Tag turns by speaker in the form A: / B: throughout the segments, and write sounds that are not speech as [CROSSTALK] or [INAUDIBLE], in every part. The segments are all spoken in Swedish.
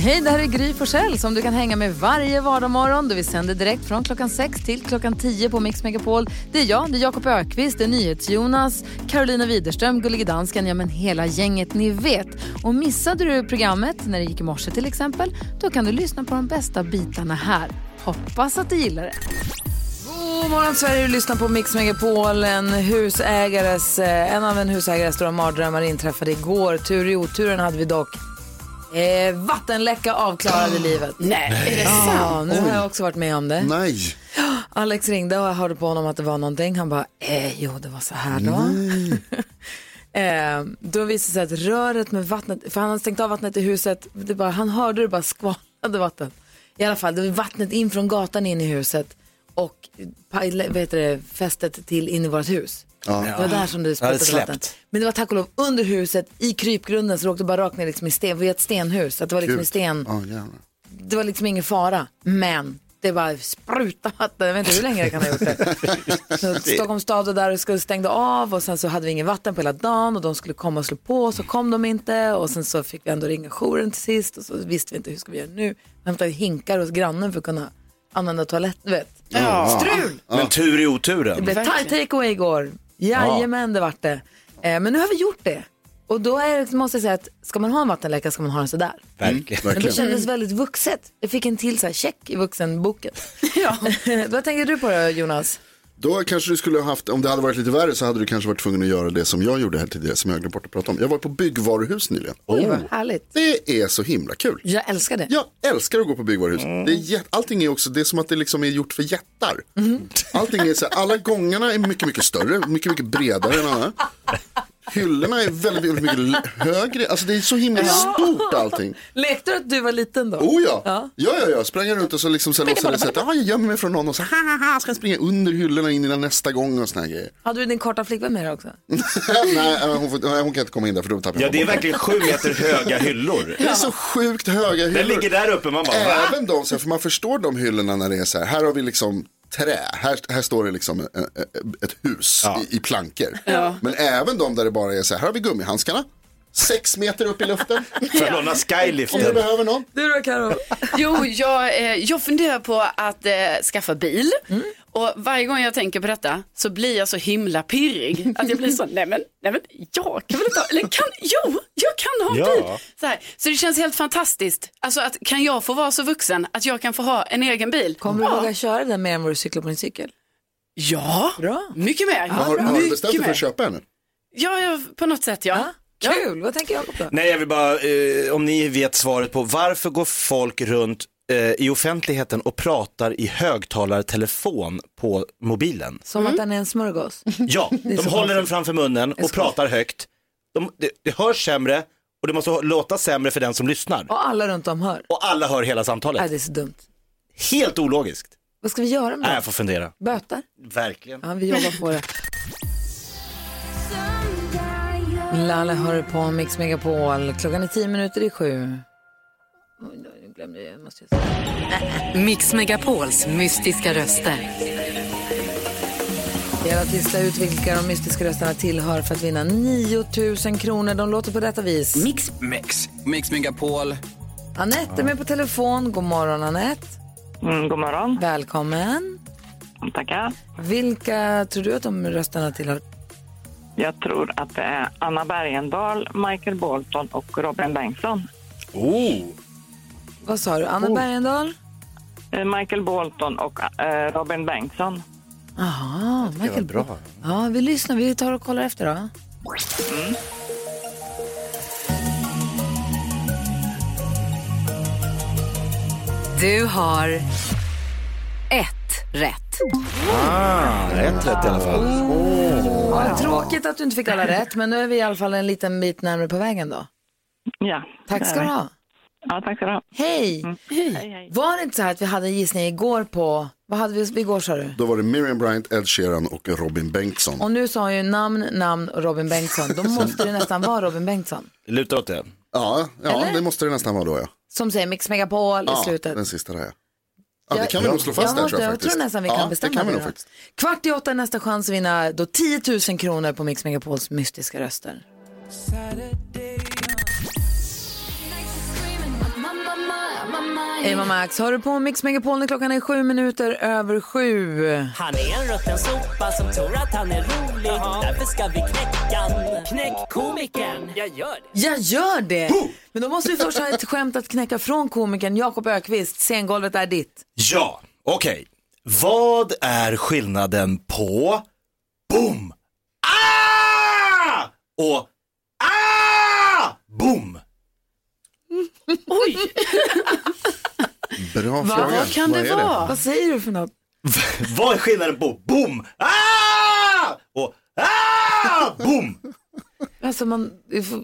A: Hej, det här är Gry Forssell som du kan hänga med varje vardagsmorgon. Vi sänder direkt från klockan 6 till klockan 10 på Mix Megapol. Det är jag, det är Jakob Ökvist, det är NyhetsJonas, Carolina Widerström, Gullige Dansken, ja men hela gänget ni vet. Och missade du programmet när det gick i morse till exempel, då kan du lyssna på de bästa bitarna här. Hoppas att du gillar det. God morgon Sverige, du lyssnar på Mix Megapol. En, husägares, eh, en av en husägares stora mardrömmar inträffade igår. Tur i oturen hade vi dock. Eh, vattenläcka avklarade livet. Nej, är det sant? Nu har jag också varit med om det.
B: Nej.
A: Alex ringde och jag hörde på honom att det var någonting. Han bara, eh, jo det var så här då. [LAUGHS] eh, då visade det sig att röret med vattnet, för han hade stängt av vattnet i huset, det bara, han hörde det bara skvalade vatten. I alla fall, det var vattnet in från gatan in i huset och pajle- vad heter det, fästet till in i vårt hus. Det var där som det
B: det
A: spottade
B: släppt.
A: vatten. Men det var tack och lov under huset, i krypgrunden, så det åkte bara rakt ner liksom i sten. Vi är ett stenhus, att det var liksom i sten
B: Ja, jävlar.
A: det var liksom ingen fara, men det bara sprutade vatten. Jag vet inte hur länge det kan ha gjort det. Så Stockholms stad var där och skulle stängde av och sen så hade vi ingen vatten på hela dagen och de skulle komma och slå på så kom de inte och sen så fick vi ändå ringa jouren till sist och så visste vi inte hur ska vi göra nu. Vi hämtade hinkar hos grannen för att kunna använda toaletten, du vet. Strul!
C: Men tur i oturen.
A: Det blev thai takeaway igår. Jajamän, det vart det. Eh, Men nu har vi gjort det. Och då är, det- måste jag säga att ska man ha en vattenläcka ska man ha den sådär.
C: Verkligen.
A: Men det kändes väldigt vuxet. Jag fick en till så här check i vuxenboken. [LAUGHS] Vad tänker du på då, Jonas?
B: Då kanske du skulle ha haft, om det hade varit lite värre så hade du kanske varit tvungen att göra det som jag gjorde här tidigare som jag glömde bort att prata om. Jag var på byggvaruhus nyligen.
A: Oj, vad härligt.
B: Det är så himla kul.
A: Jag älskar det.
B: Jag älskar att gå på byggvaruhus. Det är jä- allting är också, det är som att det liksom är gjort för jättar. Allting är så här, alla gångarna är mycket, mycket större, mycket, mycket bredare än alla. Hyllorna är väldigt, väldigt mycket l- högre, alltså det är så himla stort allting.
A: Lekte du att du var liten då?
B: Oh ja. ja, ja, ja, sprang jag runt och så liksom så här låtsades jag att ah, jag gömmer mig från någon och så ha, ha, ha, ska jag springa under hyllorna in innan nästa gång och såna här grejer. [LAUGHS]
A: Hade du din korta flickvän med dig också?
B: nej, eh, hon, får, nej, hon kan inte komma in där för då tappar
C: Ja,
B: jag
C: det är
B: bort.
C: verkligen sju meter höga hyllor.
B: det är så sjukt höga hyllor.
C: Den ligger där uppe, man bara va?
B: Även de, så här, för man förstår de hyllorna när det är så här, här har vi liksom trä, här, här står det liksom eh, eh, ett hus i, i plankor. Men även de där det bara är så här, här har vi gummihandskarna, sex meter upp
D: [LAUGHS]
B: i luften,
C: För att låna
B: om du
C: skyliften.
B: behöver någon.
A: Du då Karo?
D: Jo, jag, eh, jag funderar på att eh, skaffa bil.
A: Mm.
D: Och varje gång jag tänker på detta så blir jag så himla pirrig. Att jag blir så, nej men, nej men jag kan väl inte ha, eller kan, jo, jag kan ha
C: Ja.
D: bil. Så, här. så det känns helt fantastiskt. Alltså att kan jag få vara så vuxen att jag kan få ha en egen bil?
A: Kommer du
D: ja.
A: våga köra den mer än vad du cyklar på din cykel?
D: Ja,
A: Bra.
D: mycket mer.
B: har, har du
D: mycket
B: bestämt dig för
D: mer.
B: att köpa henne?
D: Ja, ja, på något sätt ja. ja.
A: Kul, vad tänker Jakob då?
C: Nej, jag vill bara, eh, om ni vet svaret på varför går folk runt eh, i offentligheten och pratar i högtalartelefon på mobilen?
A: Som
B: Mm.
A: att den är en
B: [LAUGHS]
A: smörgås.
C: Ja, de
A: så
C: håller den framför munnen och pratar högt. De, det, det hörs sämre och det måste låta sämre för den som lyssnar.
A: Och alla runt om hör.
C: Och alla hör hela
A: Nej,
C: samtalet.
A: det är så dumt.
C: Helt ologiskt.
A: Vad ska vi göra med
B: Äh.
C: Nej,
A: det?
C: jag får fundera.
A: Böter?
C: Verkligen.
A: Ja, vi jobbar på det. Lalle hör på Mix Megapol. Klockan är tio minuter i sju. Oj, nu glömde jag, jag måste jag säga.
E: Mix Megapols mystiska röster.
A: Det gäller att lista ut vilka de mystiska rösterna tillhör för att vinna 9 000 kronor. De låter på detta vis.
E: Mix.
F: Mix, Mix Megapol.
A: Anette är med på telefon. God morgon, Anette.
G: Mm, god morgon.
A: Välkommen.
G: Tackar.
A: Vilka tror du att de rösterna tillhör?
G: Jag tror att det är Anna Bergendahl, Michael Bolton och Robin Bengtsson.
C: Oh.
A: Vad sa du? Anna Bergendahl?
G: Eh, Michael Bolton och eh, Robin Bengtsson.
A: Jaha, Michael. Bra. Ja, vi lyssnar. Vi tar och kollar efter då. Mm.
E: Du har ett rätt.
C: Ah, rätt rätt i alla fall.
A: Ja, tråkigt att du inte fick alla rätt, men nu är vi i alla fall en liten bit närmare på vägen då.
G: Ja,
A: Tack ska du ha.
G: Ja, tack ska du ha.
A: Hej!
G: Mm. Hej, hej.
A: Var det inte så här att vi hade en gissning igår på Vad hade vi igår sa du?
B: Då var det Miriam Bryant, Ed Sheeran och Robin Bengtsson.
A: Och nu sa han ju namn, namn och Robin Bengtsson. Då måste det nästan vara Robin Bengtsson.
C: Det lutar åt det.
B: Ja, ja
A: Eller?
B: det måste det nästan vara då ja.
A: Som säger Mix Megapol i
B: ja
A: slutet.
B: Den sista där ja. ja det
A: Jag-
B: kan vi nog slå fast där
A: jag,
B: tror jag
A: jag
B: faktiskt.
A: tror nästan vi
B: ja,
A: kan bestämma
B: det. Kan vi nog
A: då.
B: faktiskt.
A: Kvart i åtta är nästa chans att vinna då 10 000 kronor på Mix Megapols mystiska röster. Hej mamma Max, hör du på Mix Megapol när klockan är sju minuter över sju.
H: Han är en rutten sopa som tror att han är rolig. Därför ska vi knäcka han. Knäck komikern. Jag gör det.
A: Jag gör det! Men då måste vi först ha ett skämt att knäcka från komikern Jakob Ökvist. Scengolvet är ditt.
C: Ja, okej. Vad är skillnaden på boom, ah och ah boom?
D: Oj,
B: Bra
C: Va?
B: fråga.
C: Vad kan det
B: är
C: vara?
A: Vad säger du för något?
C: Vad är skillnaden på boom, ah och ah boom?
A: Alltså man,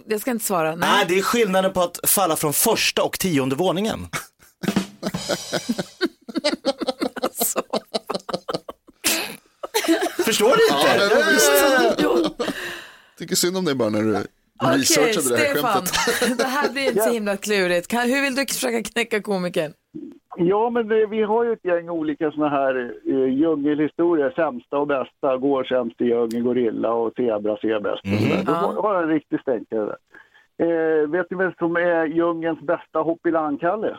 A: jag ska inte svara. Nej.
B: Ah,
C: Nej, det är skillnaden på att falla från första och tionde våningen. Förstår du inte?
B: Ja, men visst.
A: Jo.
B: Tycker synd om dig bara när du
A: Okej,
B: researchade det här
A: Stefan. [LAUGHS]
B: skämtet.
A: Det här blir inte så himla klurigt. Kan, hur vill du försöka knäcka komikern?
I: Ja, men vi, vi har ju ett gäng olika såna här eh, djungelhistorier. Sämsta och bästa, går sämst i djungeln, gorilla och zebra ser bäst. och
A: Mm.
I: sådär. Då har- har jag en riktig stänkare där. Eh, vet ni vem som är djungelns bästa hoppilan-Kalle?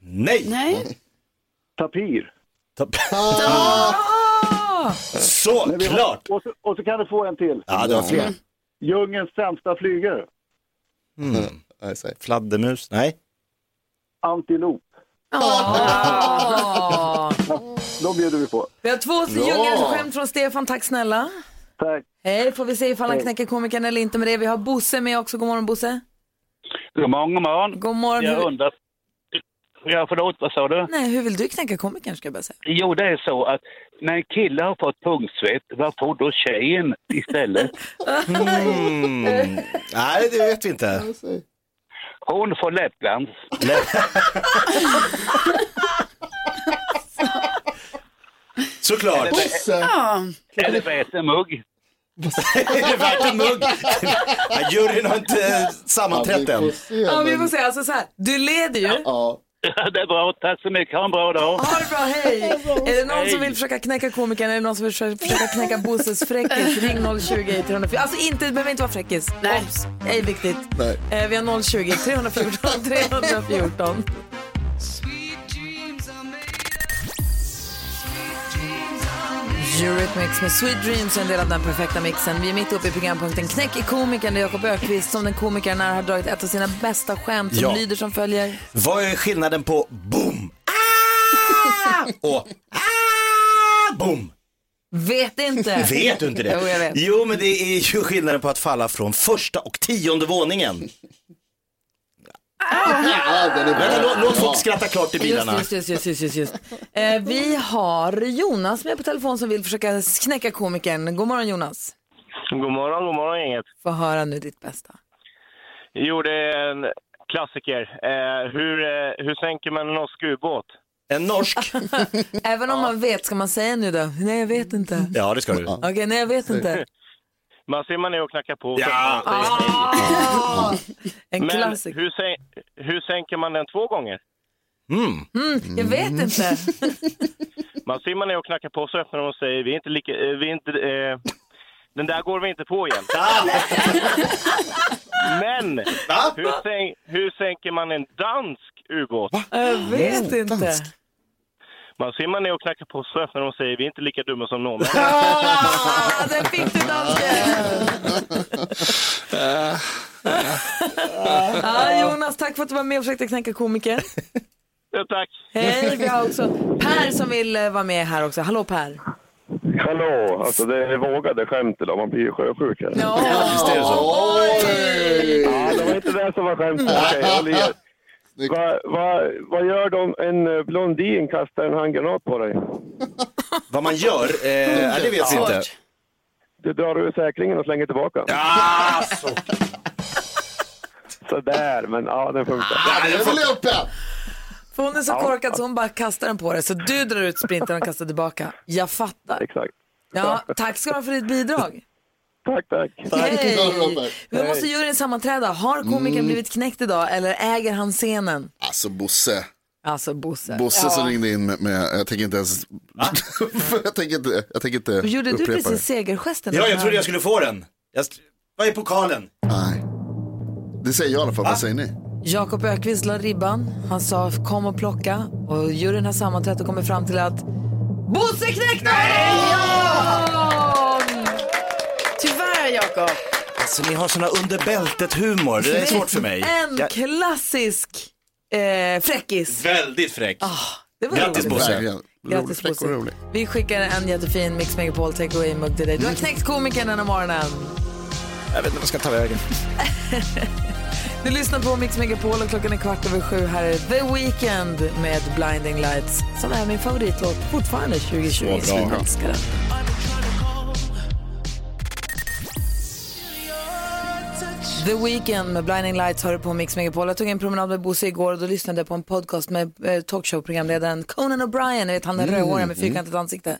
C: Nej!
D: Nej.
I: Tapir.
C: Så,
I: Men vi har-
C: klart!
I: Och så, och så kan du få en till.
C: Ja, det var fler. Mm.
I: Djungelns sämsta flygare,
C: Mm. Fladdermus, nej.
I: antilop. [LAUGHS] Ja, de bjuder vi på.
A: Vi har två
I: Bra.
A: djungelskämt från Stefan, tack snälla.
I: Tack.
A: Hej, får vi se ifall han
I: Hej.
A: knäcker komikern eller inte med det. Vi har Bosse med också. God morgon Bosse.
J: God morgon, god morgon.
A: God morgon.
J: Jag
A: Hur-
J: undrar... Ja, förlåt, vad sa du?
A: Nej, hur vill du knäcka komikern ska jag bara säga.
J: Jo, det är så att när en kille har fått punktsvett, vad får då tjejen istället?
C: Mm. [LAUGHS] Nej, det vet vi inte.
J: Hon får läppglans.
C: Såklart.
D: Ja.
J: Eller värt en mugg. [LAUGHS]
C: är [LAUGHS] det värt en mugg? Ja, juryn har inte eh, sammanträtt
J: Ja, vi får
C: än.
J: se, Ja, vi men- får se.
A: Alltså så här, du leder ju.
J: Ja. Det är bra, tack så mycket. Ha en bra dag.
A: [LAUGHS] Ha det bra, hej! Är det någon som
J: Hej.
A: vill försöka knäcka komikern? Är det någon som vill försöka försöka knäcka Bosses fräckis? Ring 020 304. Alltså inte, det behöver inte vara fräckis. Nej. Ej viktigt. Eh, vi har 020 314 314. Eurythmics med Sweet Dreams är en del av den perfekta mixen. Vi är mitt uppe i programpunkten Knäck i komikern. Det är Jakob Ökvist som den komikern är har dragit ett av sina bästa skämt som
C: Ja.
A: lyder som följer.
C: Vad är skillnaden på boom, ah och ah boom?
A: Vet inte.
C: Vet du inte det?
A: Jo, jag vet.
C: Jo, men det är ju skillnaden på att falla från första och tionde våningen. Vänta, låt, låt folk skratta klart i bilarna.
A: Just, just, just, just, just, just. Eh, vi har Jonas med på telefon som vill försöka knäcka komikern. God morgon Jonas.
K: God morgon, god morgon gänget.
A: Få höra nu ditt bästa.
K: Jo, det är en klassiker. Eh, hur, eh, hur sänker man en norsk ubåt?
C: En norsk?
A: Även om man vet, ska man säga nu då? Nej, jag vet inte.
C: Ja, det ska du.
A: Okej, nej, jag vet inte.
K: man ser man ner och knackar på.
C: Ja.
A: Ah! En
K: Men
A: klassiker.
K: hur, sän- hur sänker man den två gånger?
A: Mm, jag vet inte.
K: Man simmar ner och knackar på så öppnar de och säger vi är inte lika, eh, vi är inte, eh, den där går vi inte på
L: [LAUGHS]
K: igen. Men hur, sänk, hur sänker man en dansk ubåt?
A: Jag
K: Mm.
A: vet inte.
K: Man simmar ner och knackar på så öppnar de och säger vi är inte lika dumma som norrmän.
A: Ah, den fick du
K: [LAUGHS]
A: dansken! Ah, Jonas, tack för att du var med och försökte knäcka komikern.
K: Ja, tack.
A: Hej, vi har också Per som vill eh, vara med här också. Hallå Per.
M: Hallå, alltså det är vågade skämt idag, man blir ju sjösjuk här. Ja,
A: visst är det så.
M: Ja, det var inte det som var skämtet,
L: Mm.
M: okej, håll i er. Vad va, vad gör de, en eh, blondin kastar en handgranat på dig?
C: Vad man gör? Eh, ja, det vet vi inte.
M: Du drar ur säkringen och slänger tillbaka.
C: Ja, så.
M: Sådär, men ja, den funkar.
L: Ah.
C: Ja, den funkar.
A: För hon är så
N: Ja,
A: korkad så hon bara kastar den på dig. Så du drar ut sprintern och kastar tillbaka. Jag fattar.
O: Exakt.
A: Ja, tack ska du ha för ditt bidrag.
O: Tack, tack.
A: Hej. Vi måste
B: Hej.
A: juryn sammanträda. Har komikern
B: Mm.
A: blivit knäckt idag eller äger han scenen?
B: Alltså Bosse.
A: Alltså Bosse.
B: Bosse som
A: Ja.
B: ringde in med, med jag tänker inte ens, [LAUGHS] jag tänker inte, jag tänker inte
A: Gjorde du
B: upprepa det.
A: precis segergesten?
C: Ja, jag trodde jag skulle få den. Jag st- Vad är pokalen?
B: Det säger jag i alla fall,
C: Va?
B: vad säger ni?
A: Jakob Ökvist la ribban. Han sa kom och plocka. Och juryn har sammanträtt och kommit fram till att Bosse knäckte Ja!
D: Tyvärr Jakob.
C: Alltså ni har såna under bältet humor, det är svårt för mig.
A: En
C: Jag...
A: klassisk eh, fräckis.
C: Väldigt fräck.
A: det var
C: Grattis
A: roligt.
C: Bosse.
A: Verkligen. Grattis, Bosse. Vi skickar en jättefin Mix Megapol takeaway mugg till dig. Du har knäckt komikern den här morgonen.
C: Jag vet inte vad jag ska ta vägen.
A: Du lyssnar på Mix Megapol och klockan är kvart över sju. Här är The Weeknd med Blinding Lights som är min favoritlåt fortfarande 2020.
H: Så bra.
A: Jag älskar den. The Weeknd med Blinding Lights har du på Mix Megapol. Jag tog en promenad med Bosse igår och då lyssnade jag på en podcast med eh, talkshow-programledaren Conan O'Brien. Ni vet han den
H: Mm,
A: rödhåriga med
H: mm.
A: fyrkantigt ansikte.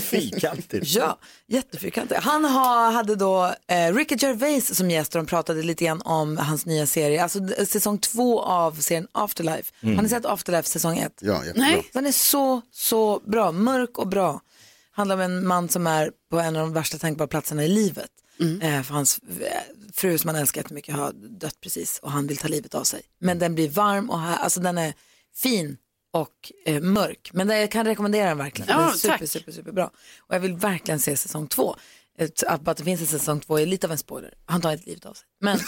C: Fyrkantigt.
A: [LAUGHS] Ja, jättefyrkantigt. Han ha, hade då eh, Ricky Gervais som gäst och de pratade lite grann om hans nya serie, alltså d- säsong två av serien Afterlife.
B: Mm.
A: Har ni sett Afterlife säsong ett?
B: Ja, jättebra.
A: Den är så, så bra. Mörk och bra. Handlar om en man som är på en av de värsta tänkbara platserna i livet.
D: Mm.
A: Eh, för hans eh, fru som han älskar jättemycket har dött precis och han vill ta livet av sig. Men den blir varm och här, alltså den är fin och eh, mörk. Men det- jag kan rekommendera den verkligen.
D: Ja,
A: den är super,
D: tack.
A: super, superbra. Och jag vill verkligen se säsong två. Ett- Att att det finns en säsong två är lite av en spoiler. Han tar inte livet av sig.
D: [LAUGHS]
A: Men,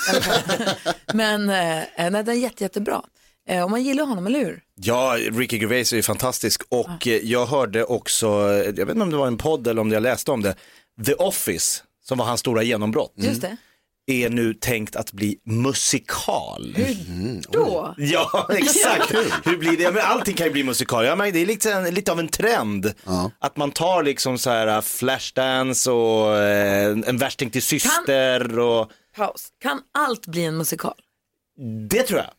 A: [LAUGHS] men eh, nej, den är jätte, jättebra. Eh, och man gillar honom, eller hur?
C: Ja, Ricky Gervais är ju fantastisk och eh, jag hörde också, eh, jag vet inte om det var en podd eller om jag läste om det, The Office, som var hans stora genombrott,
D: Mm.
A: Just det.
C: är nu tänkt att bli musikal. Mm,
A: Då?
C: [LAUGHS] Ja, exakt. Hur blir det? Men allting kan ju bli musikal. Ja, men det är lite, en- lite av en trend. Att man tar liksom så här äh, Flashdance och eh, en värsting till syster och
A: Paus. Kan allt bli en musikal?
C: det tror jag.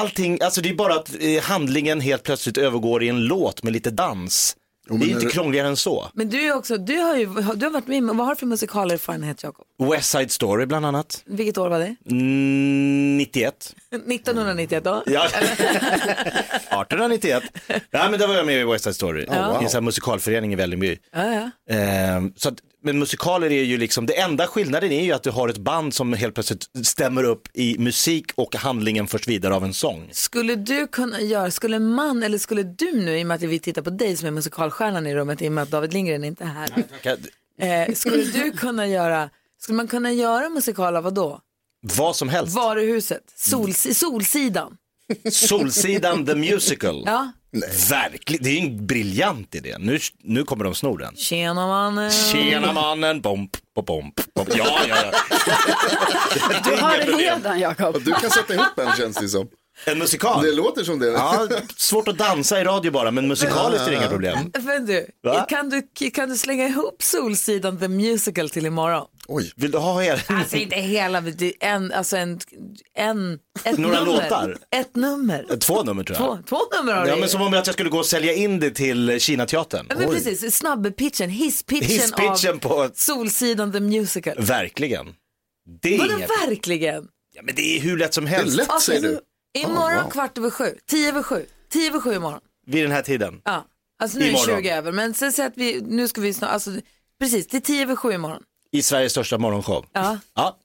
C: Allting, alltså det är bara att eh, handlingen helt plötsligt övergår i en låt med lite dans. det är inte krångligare än så.
A: Men du, är också, du, har ju, du har varit med, vad har du för musikalerfarenhet Jakob?
C: West Side Story bland annat.
A: Vilket år var det? [LAUGHS]
C: Mm, 91.
A: 1991 då?
C: [LAUGHS] Ja. 1891. Ja, men där var jag med i West Side Story.
A: Ja.
C: I en sån här musikalförening i Vällingby.
A: Ja, ja.
C: Ehm, så att, men musikaler är ju liksom, det enda skillnaden är ju att du har ett band som helt plötsligt stämmer upp i musik och handlingen förs vidare av en sång.
A: Skulle du kunna göra, skulle man eller skulle du nu, i och med att vi tittar på dig som är musikalstjärnan i rummet, i och med att David Lindgren inte är
C: [LAUGHS]
A: här,
C: Kan-
A: eh, skulle du kunna göra, skulle man kunna göra musikal av vadå?
C: Vad som helst.
A: Varuhuset,
C: Mm.
A: Sols, Solsidan.
C: Solsidan the musical.
A: Ja.
C: Verkligen, det är ju en briljant idé. Nu, nu kommer de sno den.
A: Tjena mannen.
C: Tjena mannen, bomp, bomp, bomp. bomp. Ja, ja, ja.
D: Du har
C: inga
D: det
C: problem.
D: redan Jakob.
B: Du kan sätta ihop en känns det som.
C: En musikal?
B: Det låter som det.
C: Ja, svårt att dansa i radio bara, men musikaliskt är det inga problem.
A: Men du,
C: Va?
A: kan du, kan du slänga ihop Solsidan the musical till imorgon?
C: Oj. Vill du ha hela?
A: Alltså inte hela, men det är en, alltså en, en, ett
C: Några
A: nummer.
C: låtar.
A: Ett nummer.
C: Två nummer tror jag.
A: Två, två nummer har
C: Ja,
A: du.
C: men som om att jag skulle gå och sälja in det till Kinateatern.
A: Ja, men precis, snabbpitchen, hisspitchen,
C: Hisspitchen
A: av
C: på-
A: Solsidan the musical.
C: Verkligen. Det är,
A: Vadå
C: inget-
A: verkligen?
C: ja, men det är hur lätt som helst.
A: Okej, Imorgon kvart över sju, tio över sju, tio över sju imorgon.
C: Vid den här tiden.
A: Ja, alltså nu är det
C: Imorgon.
A: 20 över, men sen säger att vi, nu ska vi snart, alltså precis, det är tio över sju imorgon.
C: I Sveriges största morgonshow.
A: Ja.
C: Ja,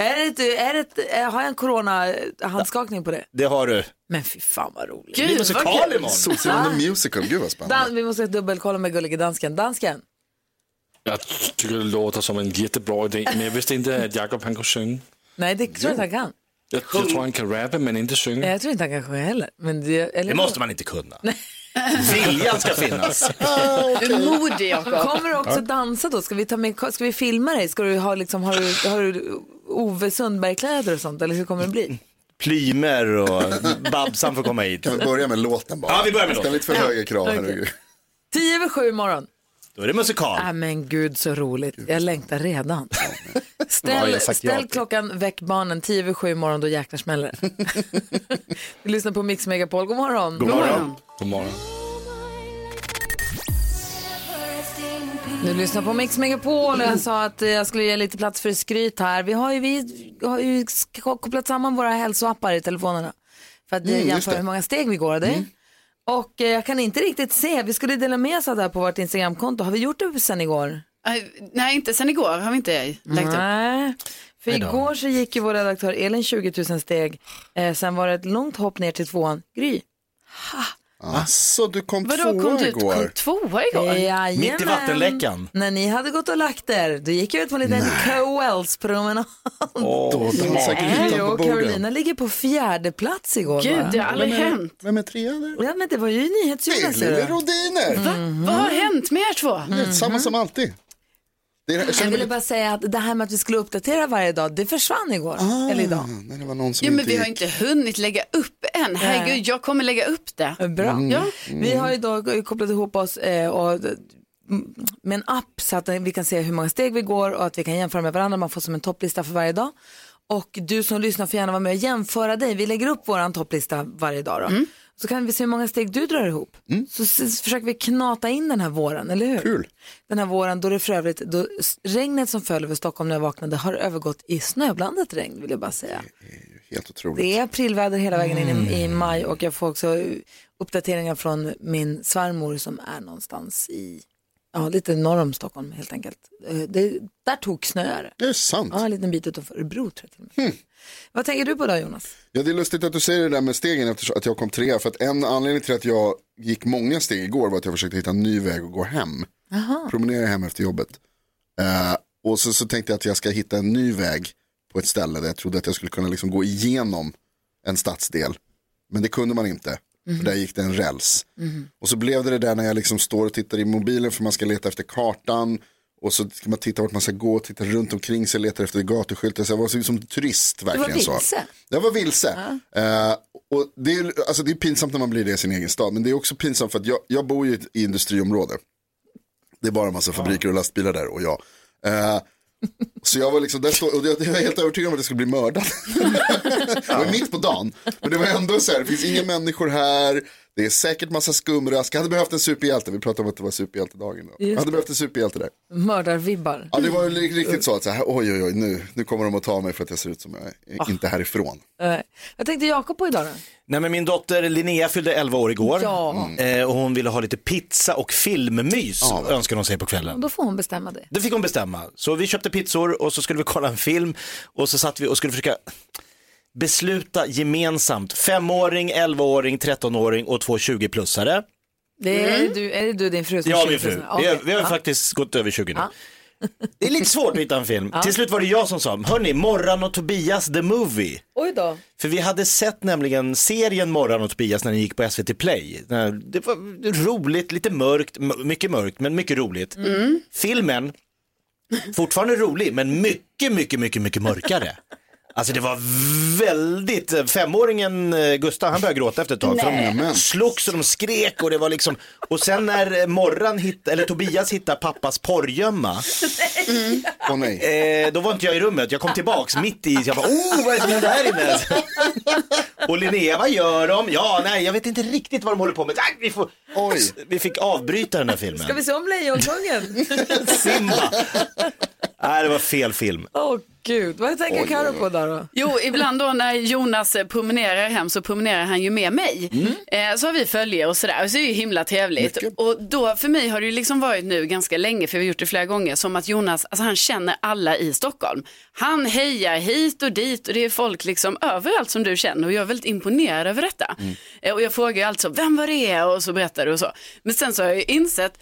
A: Är det, ett- är det, ett- eh, har jag en corona-handskakning på det?
C: det har du.
A: Men fy fan vad roligt.
C: det är musikal imorgon.
B: Solsidan the musical, gud vad spännande.
A: Dan, vi måste dubbelkolla med gullige dansken. Dansken,
L: Jag tycker det låter som en jättebra idé, men jag visste inte att Jakob han kunde sjunga.
A: nej det tror jag inte han kan.
L: Jag, jag tror han kan rappa, men inte sjunga.
A: Nej, Jag tror inte han kan sjunga heller. Men det, eller
L: Det måste
C: man inte kunna. Viljan
A: [LAUGHS]
C: ska finnas.
D: Du är modig Jakob.
A: Kommer du också dansa då? Ska vi, ta med, ska vi filma dig? Ska du ha, liksom, har du, har du Ove Sundberg-kläder och sånt? Eller hur kommer det bli?
C: Plymer och Babsan får komma hit. Kan
B: vi börja med låten bara?
C: Ja, vi börjar med
B: Ställ
C: låten.
B: inte för höga krav,
C: Okej.
B: herregud.
A: Tio över sju imorgon. Äh,
C: Då är det musikal.
A: Ah, men gud så roligt. Jag längtar redan. Ställ, ställ klockan, väck barnen, tio över sju imorgon, då jäklar smäller det. [LAUGHS] Vi lyssnar på Mix Megapol, god morgon.
L: God morgon.
A: Du lyssnar på Mix Megapol och jag sa att eh, jag skulle ge lite plats för skryt här. Vi har ju, vi har ju sk- kopplat samman våra hälsoappar i telefonerna för att eh,
P: Mm, just
A: jämföra
P: det.
A: hur många steg vi går. Det. Och eh, jag kan inte riktigt se, vi skulle dela med oss av det här på vårt Instagramkonto. Har vi gjort det sen igår?
D: Nej, inte sen igår har vi inte lagt upp.
A: Nej, för
D: Nej då.
A: igår så gick ju vår redaktör Elin 20 000 steg. Eh, sen var det ett långt hopp ner till tvåan. Gry.
B: Alltså, du kom
A: Vadå,
B: tvåa
A: kom du ut-
B: igår.
A: kom
D: tvåa
A: igår? Jajamän.
C: Mitt i vattenläckan.
A: När ni hade gått och lagt er, då gick jag ut på en liten KOLs-promenad.
B: Då tar man säkert
A: Nej,
B: utan på
A: jo,
B: borden.
A: Carolina ligger på fjärde plats igår.
B: Gud,
A: va?
B: det har aldrig Vem är- hänt.
A: Vem är trea där? Ja, men det var ju NyhetsJonas. ser du.
B: Lille Rodiner. Mm-hmm.
D: Vad har hänt med er två?
B: Det är samma som alltid. Det är,
A: Jag ville bara säga att det här med att vi skulle uppdatera varje dag, det försvann igår.
B: Ah.
A: Eller idag.
B: Nej, det var någon som
D: Jo, men
B: inte
D: vi har
B: gick.
D: inte hunnit lägga upp än. Herregud, jag kommer lägga upp det.
A: Bra.
D: Ja.
A: Vi har ju då kopplat ihop oss eh, och, m- med en app så att vi kan se hur många steg vi går och att vi kan jämföra med varandra. Man får som en topplista för varje dag. Och du som lyssnar får gärna vara med och jämföra dig. Vi lägger upp vår topplista varje dag. Då. Så kan vi se hur många steg du drar ihop. Så s- försöker vi knata in den här våren, eller hur? Kul. Den här våren då det för övrigt, då s- regnet som föll över Stockholm när jag vaknade har övergått i snöblandat regn vill jag bara säga.
B: Helt otroligt.
A: Det är aprilväder hela vägen in i, i
C: Mm.
A: maj och jag får också uppdateringar från min svärmor som är någonstans i, ja lite norr om Stockholm helt enkelt. Eh, Det, där tog snöare.
B: Det är sant.
A: Ja, en liten bit utanför Örebro tror jag till och med.
C: Hmm.
A: Vad tänker du på då Jonas?
B: Ja, det är lustigt att du säger det där med stegen eftersom att jag kom trea. För att en anledning till att jag gick många steg igår var att jag försökte hitta en ny väg att gå hem. Promenera hem efter jobbet. Eh, och sen så tänkte jag att jag ska hitta en ny väg på ett ställe där jag trodde att jag skulle kunna liksom gå igenom en stadsdel. Men det kunde man inte. För där gick det en räls. Och så blev det det där när jag liksom står och tittar i mobilen för man ska leta efter kartan. Och så ska man titta vart man ska gå, titta runt omkring sig, letar efter gatuskyltar. Så jag var som- som turist verkligen. Så.
Q: vilse.
B: Jag var vilse. Eh, och det, är, alltså det är pinsamt när man blir det i sin egen stad. Men det är också pinsamt för att jag, jag bor ju i ett industriområde. Det är bara en massa fabriker och lastbilar där och jag. Eh, så jag var liksom, där stod, och jag, jag var helt övertygad om att jag skulle bli mördad. det var mitt på dagen. Men det var ändå så här, det finns inga människor här. Det är säkert massa skumrask. Jag hade behövt en superhjälte. Vi pratade om att det var superhjältedagen. Då. Jag
A: Just
B: hade behövt en superhjälte där.
A: Mördarvibbar.
B: Ja, det var ju li- riktigt så att så här, oj, oj, oj, nu, nu kommer de att ta mig för att jag ser ut som jag är inte härifrån.
A: Eh, Vad tänkte Jakob på idag då?
C: Nej, men min dotter Linnea fyllde 11 år igår
A: Ja.
C: eh, och hon ville ha lite pizza och filmmys önskade hon sig på kvällen.
A: Då får hon bestämma det.
C: Det fick hon bestämma. Så vi köpte pizzor och så skulle vi kolla en film och så satt vi och skulle försöka besluta gemensamt. Femåring, 11-åring, 13-åring och två 20-plussare.
A: det är, du, är det du och din fru som
C: Mm. Ja,
A: känner
C: min
A: för
C: fru.
A: sådana?
C: Vi har,
A: Okej,
C: vi har
A: ja.
C: faktiskt gått över 20 nu. Det är lite svårt att hitta en film. Till slut var det jag som sa, hörni, Morran och Tobias the Movie.
A: Oj då.
C: För vi hade sett nämligen serien Morran och Tobias när den gick på SVT Play. När- Det var roligt, lite mörkt, m- mycket mörkt, men mycket roligt.
D: Mm.
C: Filmen, fortfarande rolig, men mycket, mycket, mycket, mycket mörkare. Alltså det var väldigt, femåringen eh, Gustav han började gråta efter ett tag. För
B: Nej.
C: de slogs och de skrek och det var liksom, och sen när eh, Morran, hitt, eller Tobias hittar pappas porrgömma.
B: Åh, nej.
C: Eh, då var inte jag i rummet, jag kom tillbaks mitt i, jag bara oh vad är det som händer här inne? [LAUGHS] Och Linnea, vad gör de? Ja, nej, jag vet inte riktigt vad de håller på med. Tack, vi, får... vi fick avbryta den här filmen.
A: Ska vi se om
C: [LAUGHS]
A: Lejonkungen?
C: Simba. Nej, det var fel film.
A: Åh gud, vad tänker
C: Oj,
A: Karo
C: oj, oj.
A: på där då?
D: Jo, ibland då när Jonas eh, promenerar hem så promenerar han ju med mig. Eh, Så har vi följe och sådär. Och så är det ju himla trevligt. Och då för mig har det ju liksom varit nu ganska länge, för vi har gjort det flera gånger, som att Jonas, alltså han känner alla i Stockholm. Han hejar hit och dit och det är folk liksom överallt som du känner och jag är väldigt imponerad över detta.
B: Mm.
D: Eh, Och jag frågar ju alltså, vem var det? Och så berättar du och så. Men sen så har jag ju insett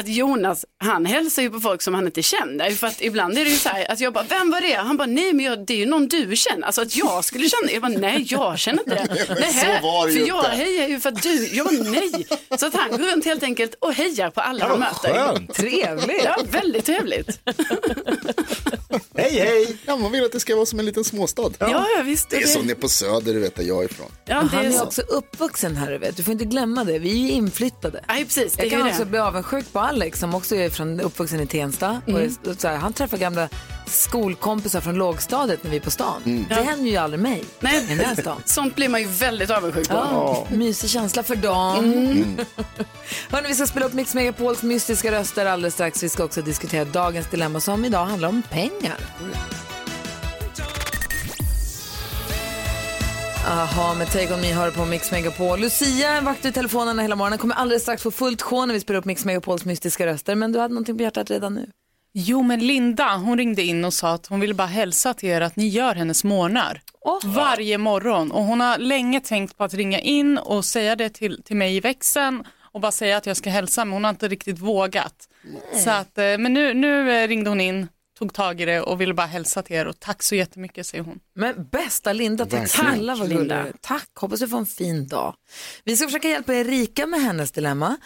D: att Jonas, han hälsar ju på folk som han inte känner. För att ibland är det ju så här att jag bara, vem var det? Han bara, nej men jag, det är ju någon du känner. Alltså att jag skulle känna, jag bara, nej jag känner inte det. Nej,
B: [LAUGHS] så var det
D: för
B: ju
D: jag
B: inte.
D: hejar ju för att du, jag bara, nej. Så att han går runt helt enkelt och hejar på alla
C: Ja,
D: han
C: vad
D: möter.
C: skönt.
A: Trevligt.
D: Ja, väldigt trevligt.
C: Hej, hej.
B: Ja, man vill att det ska vara som en liten småstad.
D: Ja, ja visst.
B: Det är som det är på Söder, du vet där jag är ifrån.
A: Och han är, också uppvuxen här, du vet. Du får inte glömma det. Vi är ju inflyttade.
D: Nej, precis. Det
A: jag
D: är
A: kan
D: ju
A: också
D: det.
A: bli avundsjuk på Alex som också är från, uppvuxen i Tensta. Och är, så här, han träffar gamla skolkompisar från lågstadiet när vi är på stan.
D: Mm.
A: Det
D: Ja.
A: händer ju aldrig mig i den här stan.
D: Sånt blir man ju väldigt avundsjuk på.
A: Ja, mysig känsla för dagen. [LAUGHS] Hörrni, vi ska spela upp Mix Megapols mystiska röster alldeles strax. Vi ska också diskutera dagens dilemma som idag handlar om pengar. Aha, med Take On Me hör på Mix Megapol. Lucia är vakt vid telefonerna hela morgonen. Kommer alldeles strax få fullt sjå när vi spelar upp Mix Megapols mystiska röster. Men du hade någonting på hjärtat redan nu.
Q: Jo, men Linda, hon ringde in och sa att hon ville bara hälsa till er att ni gör hennes morgnar. Varje morgon. Och hon har länge tänkt på att ringa in och säga det till, till mig i växeln och bara säga att jag ska hälsa, men hon har inte riktigt vågat. Så att, eh, men nu, nu eh, ringde hon in, tog tag i det och ville bara hälsa till er och tack så jättemycket, säger hon.
A: Men bästa Linda, tack
Q: Verkligen.
A: snälla vad gullig du
Q: Linda.
A: är. Tack, hoppas du får en fin dag. Vi ska försöka hjälpa Erika med hennes dilemma.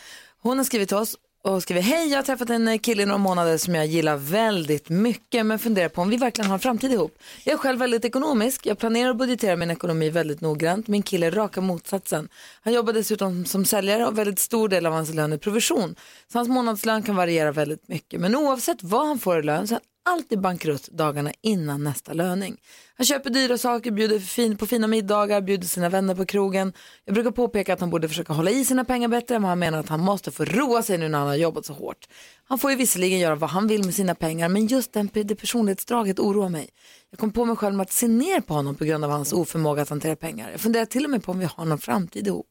A: Hon har skrivit till oss och skriver, hej jag har träffat en eh, kille i några månader som jag gillar väldigt mycket men funderar på om vi verkligen har en framtid ihop. Jag är själv väldigt ekonomisk, jag planerar och budgeterar min ekonomi väldigt noggrant. Min kille är raka motsatsen. Han jobbar dessutom som säljare och väldigt stor del av hans lön är provision. Så hans månadslön kan variera väldigt mycket. Men oavsett vad han får i lön så är han alltid bankrutt dagarna innan nästa löning. Han köper dyra saker, bjuder fin, på fina middagar, bjuder sina vänner på krogen. Jag brukar påpeka att han borde försöka hålla i sina pengar bättre, men han menar att han måste få roa sig nu när han har jobbat så hårt. Han får ju visserligen göra vad han vill med sina pengar, men just den, det personlighetsdraget oroar mig. Jag kom på mig själv med att se ner på honom på grund av hans oförmåga att hantera pengar. Jag funderar till och med på om vi har någon framtid ihop.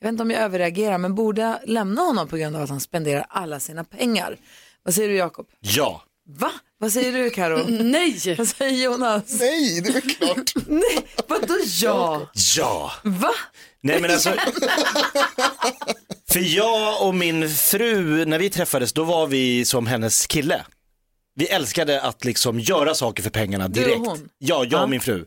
A: Jag vet inte om jag överreagerar, men borde jag lämna honom på grund av att han spenderar alla sina pengar? Vad säger du, Jakob?
C: Ja.
A: Va? Vad säger du [LAUGHS] Karo?
D: Nej!
A: Vad säger Jonas?
B: Nej, det är väl klart.
A: Nej, vadå ja?
C: Ja.
A: Va?
C: Nej men alltså, för jag och min fru, när vi träffades, då var vi som hennes kille. Vi älskade att liksom göra saker för pengarna
A: Du och
C: direkt.
A: hon?
C: Ja, jag och min fru.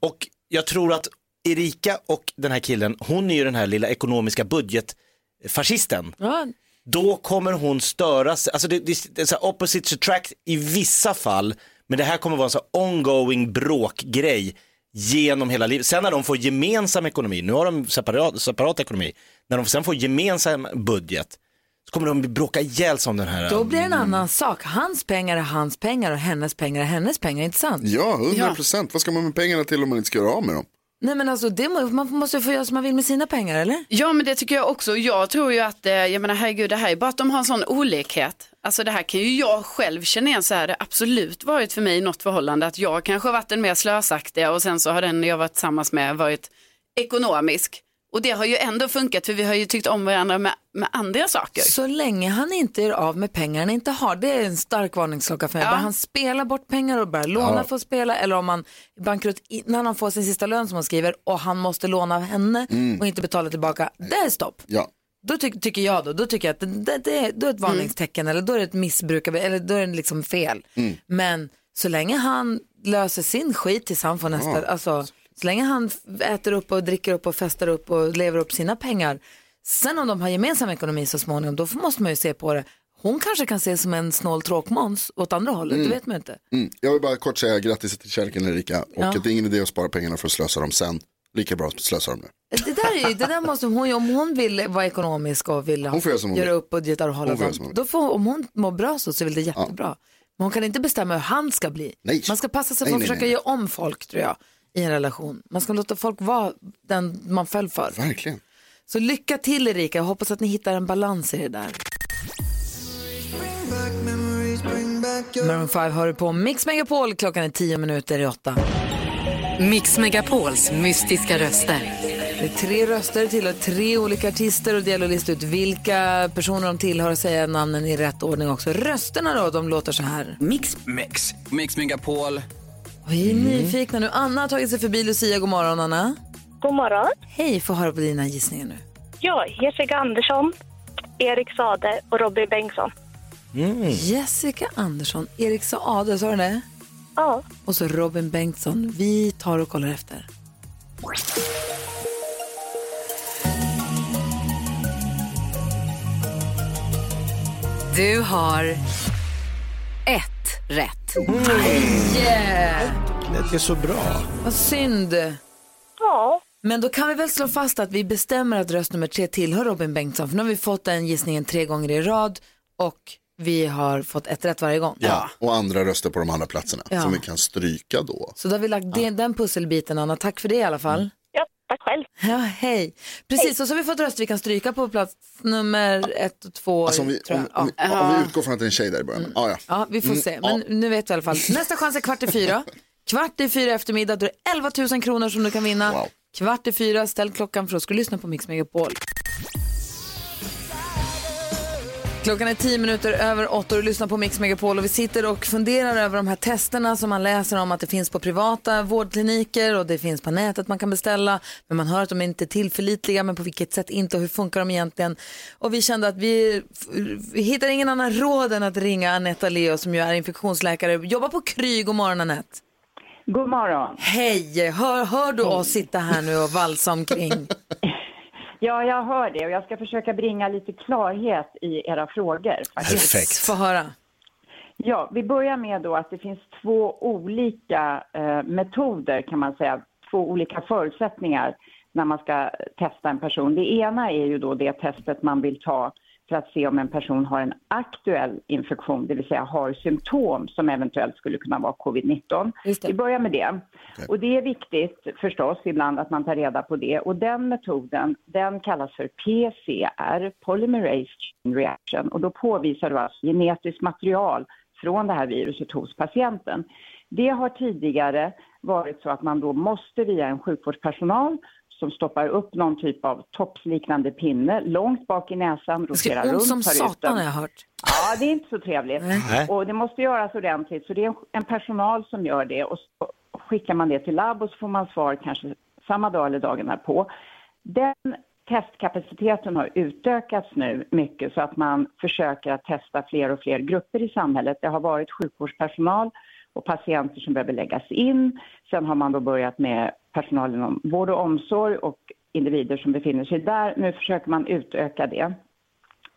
C: Och jag tror att Erika och den här killen, hon är ju den här lilla ekonomiska budgetfascisten.
A: Ja.
C: Då kommer hon störa sig, alltså det, det, det är så här opposites attract i vissa fall, men det här kommer vara en så här ongoing bråkgrej genom hela livet. Sen när de får gemensam ekonomi, nu har de separat, separat ekonomi, när de sen får gemensam budget så kommer de bråka ihjäl sig om den här.
A: Då blir det en annan sak. Hans pengar är hans pengar och hennes pengar är hennes pengar, inte sant?
B: Ja, 100 procent. Vad ska man med pengarna till om man inte ska göra av med dem?
A: Nej men alltså det, må- man måste ju få göra som man vill med sina pengar eller?
D: Ja men det tycker jag också. Jag tror ju att, eh, jag menar herregud det här är bara att de har en sån olikhet. Alltså det här kan ju jag själv känna igen så här, det har absolut varit för mig i något förhållande att jag kanske har varit den mer slösaktiga och sen så har den jag varit tillsammans med varit ekonomisk. Och det har ju ändå funkat för vi har ju tyckt om varandra med, med andra saker.
A: Så länge han inte är av med pengar han inte har, det är en stark varningsklocka för mig. Bara han spelar bort pengar och börjar låna
D: Ja.
A: för att spela eller om han är bankrutt innan han får sin sista lön som han skriver och han måste låna av henne
B: Mm.
A: och inte betala tillbaka, det är stopp.
B: Ja.
A: Då ty- tycker jag då, då tycker jag att det, det, det,
B: Mm.
A: då är ett varningstecken eller då är det ett missbruk av- eller då är det liksom fel.
B: Mm.
A: Men så länge han löser sin skit tills han får nästa,
B: Ja.
A: alltså så länge han f- äter upp och dricker upp och festar upp och lever upp sina pengar. Sen om de har gemensam ekonomi så småningom, då får- måste man ju se på det. Hon kanske kan ses som en snål tråkmåns åt andra hållet,
B: Mm.
A: det vet man inte.
B: Mm. Jag vill bara kort säga grattis till kärleken Erika. Och
A: Ja.
B: att det är ingen idé att spara pengarna för att slösa dem sen. Lika bra att slösa dem nu.
A: Det där, är, ju- det där måste hon ju, om hon vill vara ekonomisk och vill ha-
B: Hon får göra som hon vill.
A: upp budgetar och hålla
B: Hon får göra
A: sånt,
B: som hon vill.
A: då får, om hon mår bra så, så är väl det jättebra. Men hon kan inte bestämma hur han ska bli.
B: Nej.
A: Man ska passa sig
B: Nej,
A: för att
B: nej,
A: försöka
B: nej.
A: ge om folk tror jag i en relation. Man ska låta folk vara den man föll för.
B: Verkligen.
A: Så lycka till Erika, jag hoppas att ni hittar en balans i det där. Maroon 5 hör du på Mix Megapol, klockan är 10 minuter i åtta.
E: Mix Megapols mystiska röster.
A: Det är tre röster till och tre olika artister och det gäller att lista ut vilka personer de tillhör och säga namnen i rätt ordning också. Rösterna då, de låter så här.
F: Mix. Mix. Mix Megapol.
A: Vi är nyfikna nu. Anna har tagit sig förbi Lucia. God morgon, Anna.
R: God morgon.
A: Hej, få höra på dina gissningar nu.
R: Ja, Jessica Andersson, Erik Sade och Robin Bengtsson.
A: Jessica Andersson, Erik Saade, sa du det?
R: Ja.
A: Och så Robin Bengtsson. Vi tar och kollar efter.
E: Du har ett rätt.
A: Yeah!
C: Det är så bra.
A: Vad synd.
R: Ja.
A: Men då kan vi väl slå fast att vi bestämmer att röst nummer tre tillhör Robin Bengtsson. För nu har vi fått den gissningen tre gånger i rad och vi har fått ett rätt varje gång.
B: Ja. Och andra röster på de andra platserna
A: Ja.
B: som vi kan stryka då.
A: Så då har vi lagt det- den pusselbiten, Anna. Tack för det i alla fall.
B: Mm.
R: Ja, tack själv.
A: Ja, hej. Precis, och så har vi fått röster vi kan stryka på plats nummer ett och två.
B: Alltså om vi,
A: tror
B: om,
A: jag.
B: om,
A: ja.
B: om vi utgår från att det är en tjej där i början. Ja, ja.
A: ja, vi får
B: Mm,
A: se.
B: ja.
A: Men nu vet vi i alla fall. Nästa chans är kvart i
B: [LAUGHS]
A: fyra. Kvart i fyra eftermiddag, då är det 11 000 kronor som du kan vinna. Kvart i fyra, ställ klockan för då ska du lyssna på Mix Megapol. Klockan är tio minuter över åtta och du lyssnar på Mix Megapol och vi sitter och funderar över de här testerna som man läser om att det finns på privata vårdkliniker och det finns på nätet man kan beställa. Men man hör att de inte är tillförlitliga, men på vilket sätt inte och hur funkar de egentligen? Och vi kände att vi, vi hittar ingen annan råd än att ringa Anette Leo som ju är infektionsläkare, jobbar på Kry. God morgon Anette!
S: God morgon!
A: Hej! Hör, hör du oss sitta här nu och valsa omkring?
S: Ja, jag hör det och jag ska försöka bringa lite klarhet i era frågor. faktiskt.
A: Få höra.
S: Ja, vi börjar med då att det finns två olika eh, metoder kan man säga, två olika förutsättningar när man ska testa en person. Det ena är ju då det testet man vill ta för att se om en person har en aktuell infektion, det vill säga har symptom som eventuellt skulle kunna vara covid-19. Vi börjar med det. Och det är viktigt förstås ibland att man tar reda på det. Och den metoden, den kallas för PCR, Polymerase Chain Reaction. Och då påvisar du alltså genetiskt material från det här viruset hos patienten. Det har tidigare varit så att man då måste via en sjukvårdspersonal som stoppar upp någon typ av topsliknande pinne långt bak i näsan, roterar
A: ont
S: runt,
A: som
S: tar ut
A: satan
S: den.
A: har jag hört.
S: Ja, det är inte så trevligt.
A: Nej.
S: Och det måste göras ordentligt, så det är en- en personal som gör det och så skickar man det till labb och så får man svar kanske samma dag eller dagen därpå. Den testkapaciteten har utökats nu mycket så att man försöker att testa fler och fler grupper i samhället. Det har varit sjukvårdspersonal och patienter som behöver läggas in. Sen har man då börjat med personal inom vård och omsorg och individer som befinner sig där. Nu försöker man utöka det.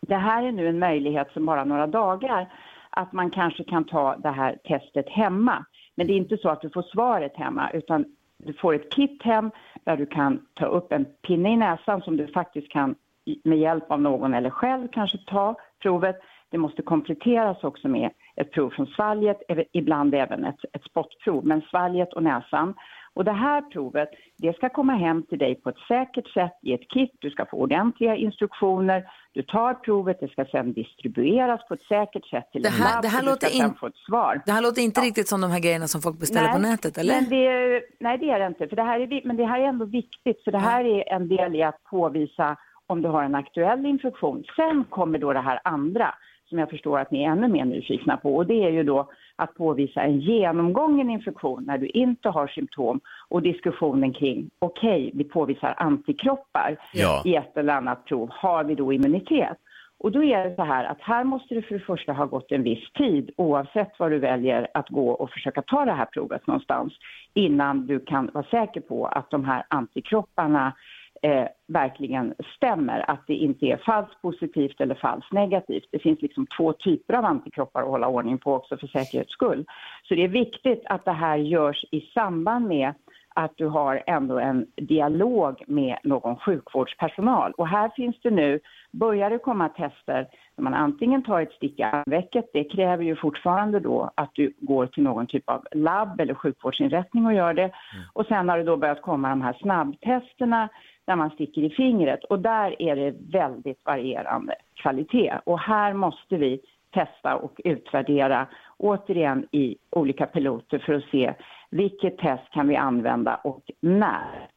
S: Det här är nu en möjlighet som bara några dagar att man kanske kan ta det här testet hemma. Men det är inte så att du får svaret hemma utan du får ett kit hem där du kan ta upp en pinne i näsan som du faktiskt kan i- med hjälp av någon eller själv kanske ta provet. Det måste kompletteras också med ett prov från svalget, ev- ibland även ett, ett spottprov, men svalget och näsan. Och det här provet, det ska komma hem till dig på ett säkert sätt i ett kit. Du ska få ordentliga instruktioner. Du tar provet, det ska sedan distribueras på ett säkert sätt till
A: Det
S: en
A: här,
S: labb
A: det här,
S: och du
A: låter,
S: ska sedan
A: in,
S: få ett svar.
A: det här låter inte riktigt som de här grejerna som folk beställer på nätet, eller?
S: Men det är, nej, det är det inte. För det här är, vi- men det här är ändå viktigt, för det här är en del i att påvisa om du har en aktuell infektion. Sen kommer då det här andra, som jag förstår att ni är ännu mer nyfikna på, och det är ju då att påvisa en genomgången infektion när du inte har symptom och diskussionen kring, okej, vi påvisar antikroppar
T: Ja.
S: i ett eller annat prov, har vi då immunitet? Och då är det så här att här måste det för det första ha gått en viss tid oavsett var du väljer att gå och försöka ta det här provet någonstans innan du kan vara säker på att de här antikropparna eh, verkligen stämmer, att det inte är falskt positivt eller falskt negativt. Det finns liksom två typer av antikroppar att hålla ordning på också för säkerhets skull. Så det är viktigt att det här görs i samband med att du har ändå en dialog med någon sjukvårdspersonal. Och här finns det nu, börjar det komma tester där man antingen tar ett stick i armvecket, det kräver ju fortfarande då att du går till någon typ av labb eller sjukvårdsinrättning och gör det. Och sen har det då börjat komma de här snabbtesterna där man sticker i fingret och där är det väldigt varierande kvalitet. Och här måste vi testa och utvärdera återigen i olika piloter för att se vilket test kan vi använda och när.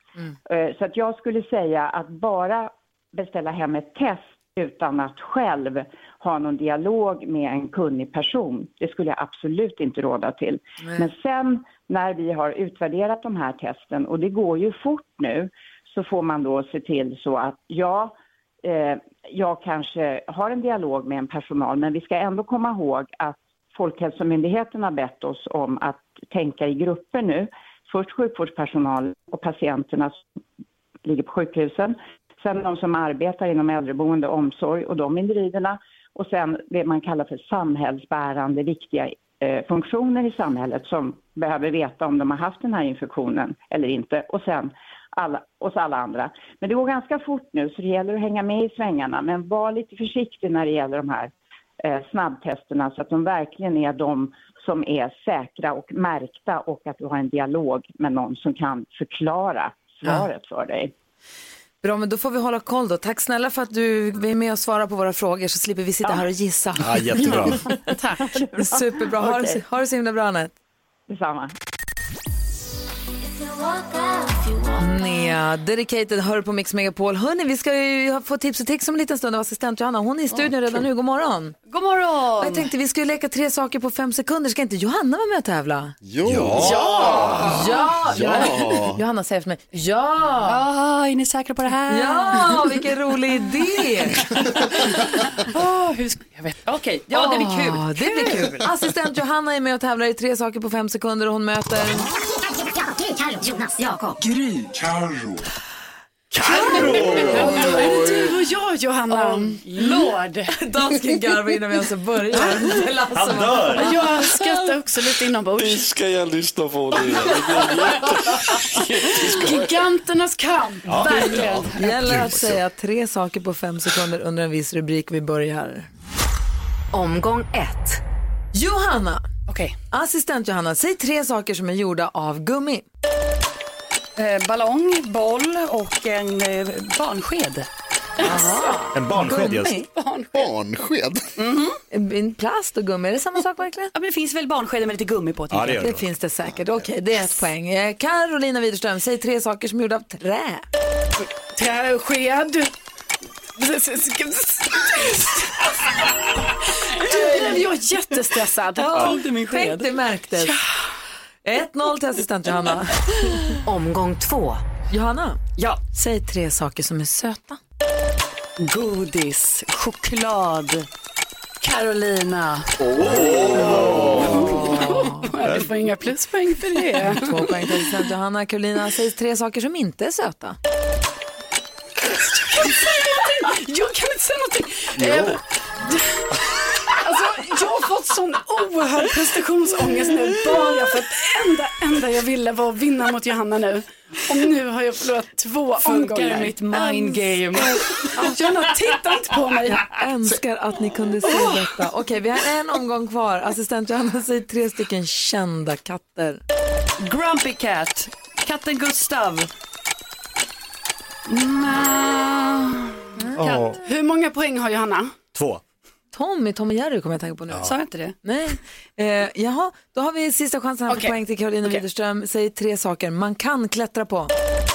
S: Eh, Så att jag skulle säga att bara beställa hem ett test utan att själv ha någon dialog med en kunnig person, det skulle jag absolut inte råda till.
N: Nej.
S: Men sen när vi har utvärderat de här testen, och det går ju fort nu, så får man då se till så att ja, eh, jag kanske har en dialog med en personal, men vi ska ändå komma ihåg att Folkhälsomyndigheten har bett oss om att tänka i grupper nu. Först sjukvårdspersonal och patienterna som ligger på sjukhusen. Sen de som arbetar inom äldreboende och omsorg och de individerna. Och sen det man kallar för samhällsbärande viktiga eh, funktioner i samhället som behöver veta om de har haft den här infektionen eller inte. Och sen alla, oss alla andra. Men det går ganska fort nu så det gäller att hänga med i svängarna. Men var lite försiktig när det gäller de här eh, snabbtesterna så att de verkligen är de som är säkra och märkta och att du har en dialog med någon som kan förklara svaret för dig.
A: Bra, men då får vi hålla koll då. Tack snälla för att du är med och svarar på våra frågor så slipper vi sitta här och gissa.
C: Ja, jättebra.
A: Tack. [LAUGHS] Superbra. Ha, det,
S: Okej.
A: så- ha det så himla bra, Anette.
S: Detsamma.
A: Nea, dedicated, hör på Mix Megapol. Hörni, vi ska ju få tips och tricks om en liten stund av assistent Johanna. Hon är i studion redan nu. God morgon.
T: God morgon!
A: Jag tänkte vi ska ju leka tre saker på fem sekunder. Ska inte Johanna vara med och tävla?
B: Jo.
A: Ja! Ja!
B: Ja.
A: Johanna säger efter mig, ja!
T: Ah, är ni säkra på det här?
A: Ja, vilken rolig idé!
T: Åh, Ah, hur ska, jag vet. Okej, ja det blir kul.
A: Ah, det blir kul. Assistent Johanna är med och tävlar i tre saker på fem sekunder och hon möter...
H: Gry, Carro, Jonas, Jakob.
A: Gry, Carro.
D: Är det du och jag Johanna? Lord.
A: Dansken garvar innan vi ens [LAUGHS] börjar. Lasse,
D: Han
A: dör. vad-
D: Jag skrattar också lite inombords.
L: Det ska jag lyssna på. Det, det blir
D: Giganternas kamp.
L: Ja.
D: Verkligen.
A: gäller att säga tre saker på fem sekunder under en viss rubrik. Vi börjar. Omgång ett. Johanna.
T: Okej.
A: Assistent Johanna, säg tre saker som är gjorda av gummi.
T: Eh, ballong, boll och en eh, barnsked.
C: En barnsked just.
A: Gummi?
B: Barnsked?
A: Mm, En Plast och gummi, är det samma sak verkligen?
T: Ja, men det finns väl barnskedar med lite gummi på? typ. tänker
C: Ja, det
T: jag.
C: gör det.
A: Det finns det säkert. Okej, det är ett poäng. Eh, Carolina Widerström, säg tre saker som är gjorda av trä.
D: Träsked. Du blev jag jättestressad.
A: Ja, tänk, det märktes. 1-0 till assistent Johanna. Omgång två. Johanna, ja. säg tre saker som är söta.
T: Godis, choklad, Carolina.
D: Du får inga pluspoäng för det.
A: Två poäng till assistent Johanna. Carolina, säg tre saker som inte är söta.
D: Jag kan inte säga någonting. Eh, Alltså, jag har fått sån oerhörd prestationsångest nu bara för att enda, enda jag ville var att vinna mot Johanna nu. Och nu har jag förlorat två omgångar.
T: mitt mind game?
D: Älskar- Johanna, titta inte på mig.
A: Jag önskar att ni kunde se detta. Okej, vi har en omgång kvar. Assistent Johanna, säg tre stycken kända katter.
T: Grumpy Cat, katten Gustav.
C: Ja.
D: Hur många poäng har Johanna?
C: Två.
A: Tommy, Tom och Jerry kommer jag att tänka på nu.
C: Ja.
T: Sa jag inte det?
A: Nej. Eh, jaha, då har vi sista chansen här för
D: Okej.
A: poäng till Carolina Widerström. Säg tre saker man kan klättra på.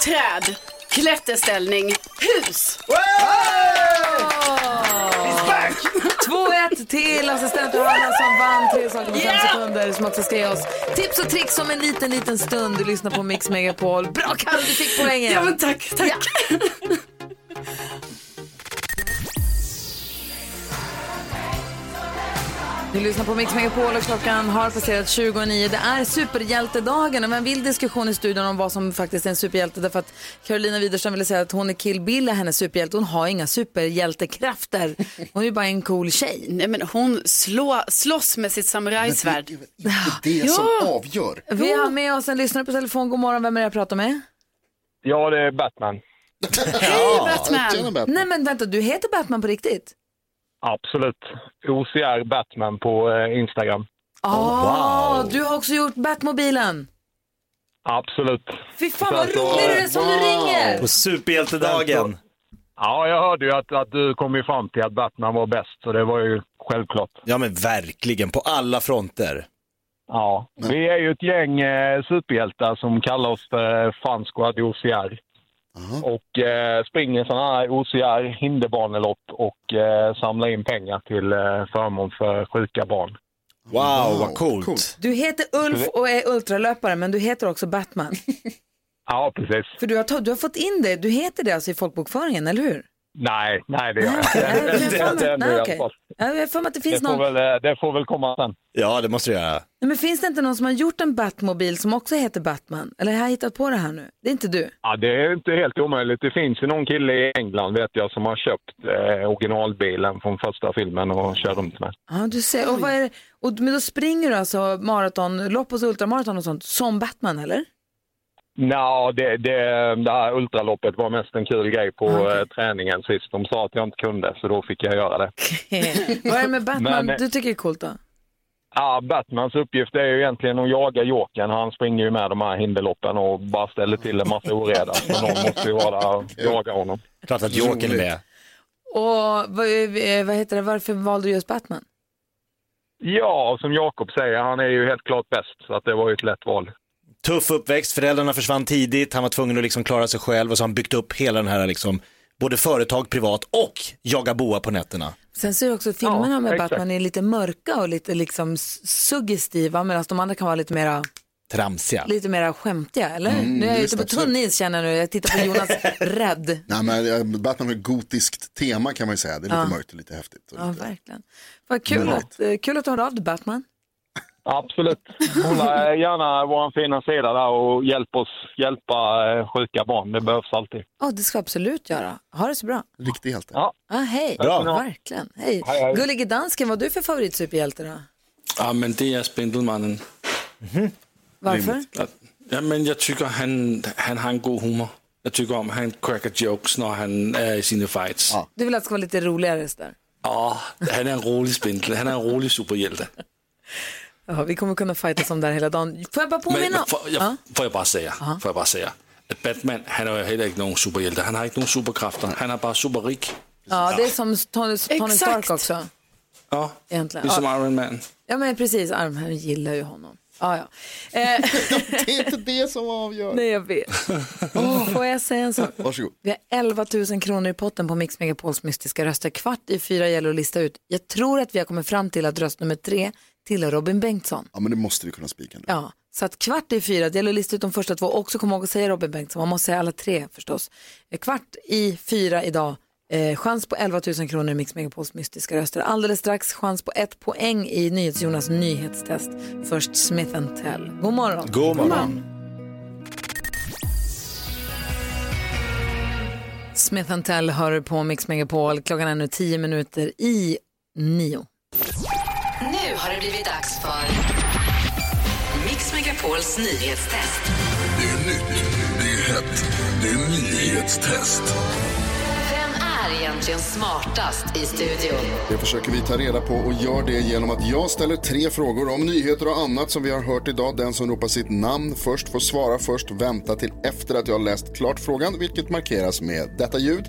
D: Träd, klätterställning, hus.
A: 2-1 till assistent Johanna som vann tre saker på fem sekunder som också ska ge oss tips och tricks om en liten, liten stund. Du lyssnar på Mix Megapol. Bra Carro, du fick poängen.
D: Ja, men tack, tack.
A: Du lyssnar på Mix Megapol och klockan har passerat 29. Det är superhjältedagen och en vild diskussion i studion om vad som faktiskt är en superhjälte. Därför att Carolina Widerström ville säga att hon är Kill Bill är hennes superhjälte. Hon har inga superhjältekrafter. Hon är ju bara en cool tjej.
D: Nej, men hon slå, slåss med sitt samurajsvärd.
B: Det är som
A: Ja.
B: avgör.
A: Vi har med oss en lyssnare på telefon. God morgon, vem är det jag pratar med?
N: Ja, det är Batman.
A: [LAUGHS] Hej
N: Batman. tjena, Batman.
A: Nej men vänta, du heter Batman på riktigt?
N: Absolut. OCR Batman på eh, Instagram.
A: Ja, Ah, du har också gjort Batmobilen.
N: Absolut.
A: Fy fan vad rolig du är som du ringer!
C: På superhjältedagen.
N: Ja, jag hörde ju att, att du kom ju fram till att Batman var bäst, så det var ju självklart.
C: Ja men verkligen, på alla fronter.
N: Ja, vi är ju ett gäng eh, superhjältar som kallar oss för Fan Squad OCR. Och eh, springer sådana här OCR hinderbanelopp och eh, samlar in pengar till eh, förmån för sjuka barn.
C: Wow, vad coolt.
A: Du heter Ulf och är ultralöpare men du heter också
N: [LAUGHS]
A: Batman.
N: Ja, precis.
A: För du har, ta- du har fått in det, du heter det alltså i folkbokföringen, eller hur?
N: Nej, nej det gör jag inte.
A: jag har för mig-
N: Inte ännu
A: [LAUGHS]
N: i
A: nej,
N: alla
A: okej.
N: fall.
A: Ja, Jag har för mig att det finns
N: Det får,
A: någon,
N: väl, eh, det får väl komma sen.
C: Ja, det måste du göra.
A: Nej, men finns det inte någon som har gjort en Batmobil som också heter Batman? Eller har jag hittat på det här nu? Det är inte du?
N: Ja, det är inte helt omöjligt. Det finns ju någon kille i England vet jag som har köpt eh, originalbilen från första filmen och kör runt med.
A: Ja, du ser. Och, vad är det? och men då springer du alltså maratonlopp och så ultramaraton och sånt som Batman, eller? [LAUGHS]
N: Nja, det, det, det här ultraloppet var mest en kul grej på
A: Ah,
N: eh, träningen sist. De sa att jag inte kunde, så då fick jag göra det.
A: Vad är det med Batman
N: Men-
A: du tycker är coolt då?
N: Ja, Batmans uppgift är ju egentligen att jaga Jokern. Han springer ju med de här hinderloppen och bara ställer till en massa oreda. Så någon måste ju vara där och jaga honom.
C: Klart att Jokern är med.
A: Och vad, eh, vad heter det, varför valde du just Batman?
N: Ja, som Jakob säger, han är ju helt klart bäst. Så att det var ju ett lätt val.
C: Tuff uppväxt, föräldrarna försvann tidigt, han var tvungen att liksom klara sig själv och så har han byggt upp hela den här liksom, både företag privat och jaga boa på nätterna.
A: Sen så är också filmerna
C: Ja,
A: med
C: exakt.
A: Batman är lite mörka och lite liksom s- suggestiva medan de andra kan vara lite mera
C: Tramsiga.
A: Lite mera skämtiga, eller?
B: Mm,
A: nu är jag
B: just
A: ute på
B: absolut.
A: tunn is känner jag nu. Jag tittar på Jonas rädd.
B: Nej, men eh, Batman har ett gotiskt tema kan man ju säga. Det är lite
A: Ja.
B: mörkt och lite häftigt.
A: Ja, verkligen. Vad kul,
N: Mm.
A: att, eh, kul att du hörde av dig, Batman.
N: Absolut. Kolla gärna vår fina sida där och hjälp oss hjälpa eh, sjuka barn. Det behövs alltid.
A: Ja, det ska jag absolut göra. Ha det så bra.
B: Riktig hjälte.
N: Ja.
A: Ah, hej,
L: Bra.
A: verkligen. Hej.
L: Hej, hej.
A: Gullige dansken, vad är du för favoritsuperhjälte då?
L: Ja, men det är Spindelmannen.
A: Varför?
L: Ja, Ja, men jag tycker han, han har en god humor. Jag tycker om han cracker jokes när han är i sina fights. Ja.
A: Du vill att det ska vara lite roligare sådär?
L: han är en rolig spindel, han är en rolig superhjälte.
A: Ja, vi kommer kunna fightas om det här hela dagen. Får jag bara
L: Men,
A: påminna
L: men får, jag,
A: Ja.
L: får jag bara säga, får jag bara säga att Batman, han är ju heller inte någon superhjälte. Han har inte någon superkrafter, han är bara superrik.
A: Ja, det är som Tony, Tony Stark också.
L: Ja,
A: Egentligen.
L: liksom
A: Ja.
L: Iron Man.
A: Ja, men precis. Armherren gillar ju honom. Ja, ja. Eh, [LAUGHS]
B: det är inte det som avgör.
A: Nej, jag vet. Åh, får jag säga en sak?
B: Varsågod.
A: Vi har 11 000 kronor i potten på Mix Megapols mystiska röster. Kvart i fyra gäller att lista ut. Jag tror att vi har kommit fram till att röst nummer tre tillhör Robin Bengtsson.
B: Ja, men det måste vi kunna spika nu.
A: Ja, så att kvart i fyra, det gäller att lista ut de första två. Också kom ihåg att säga Robin Bengtsson, man måste säga alla tre förstås. Eh, Kvart i fyra idag, eh, chans på 11 000 kronor i Mix Megapols mystiska röster. Alldeles strax chans på ett poäng i NyhetsJonas nyhetstest. Först Smith Tell. God morgon.
C: God morgon.
A: Smith Tell hör du på Mix Megapol. Klockan är nu tio minuter i nio.
E: Nu har det blivit dags för Mix Megapols nyhetstest.
U: Det är nytt, det är hett, det är nyhetstest.
E: Vem är egentligen smartast i studion?
B: Det försöker vi ta reda på och gör det genom att jag ställer tre frågor om nyheter och annat som vi har hört idag. Den som ropar sitt namn först får svara först, vänta till efter att jag har läst klart frågan, vilket markeras med detta ljud.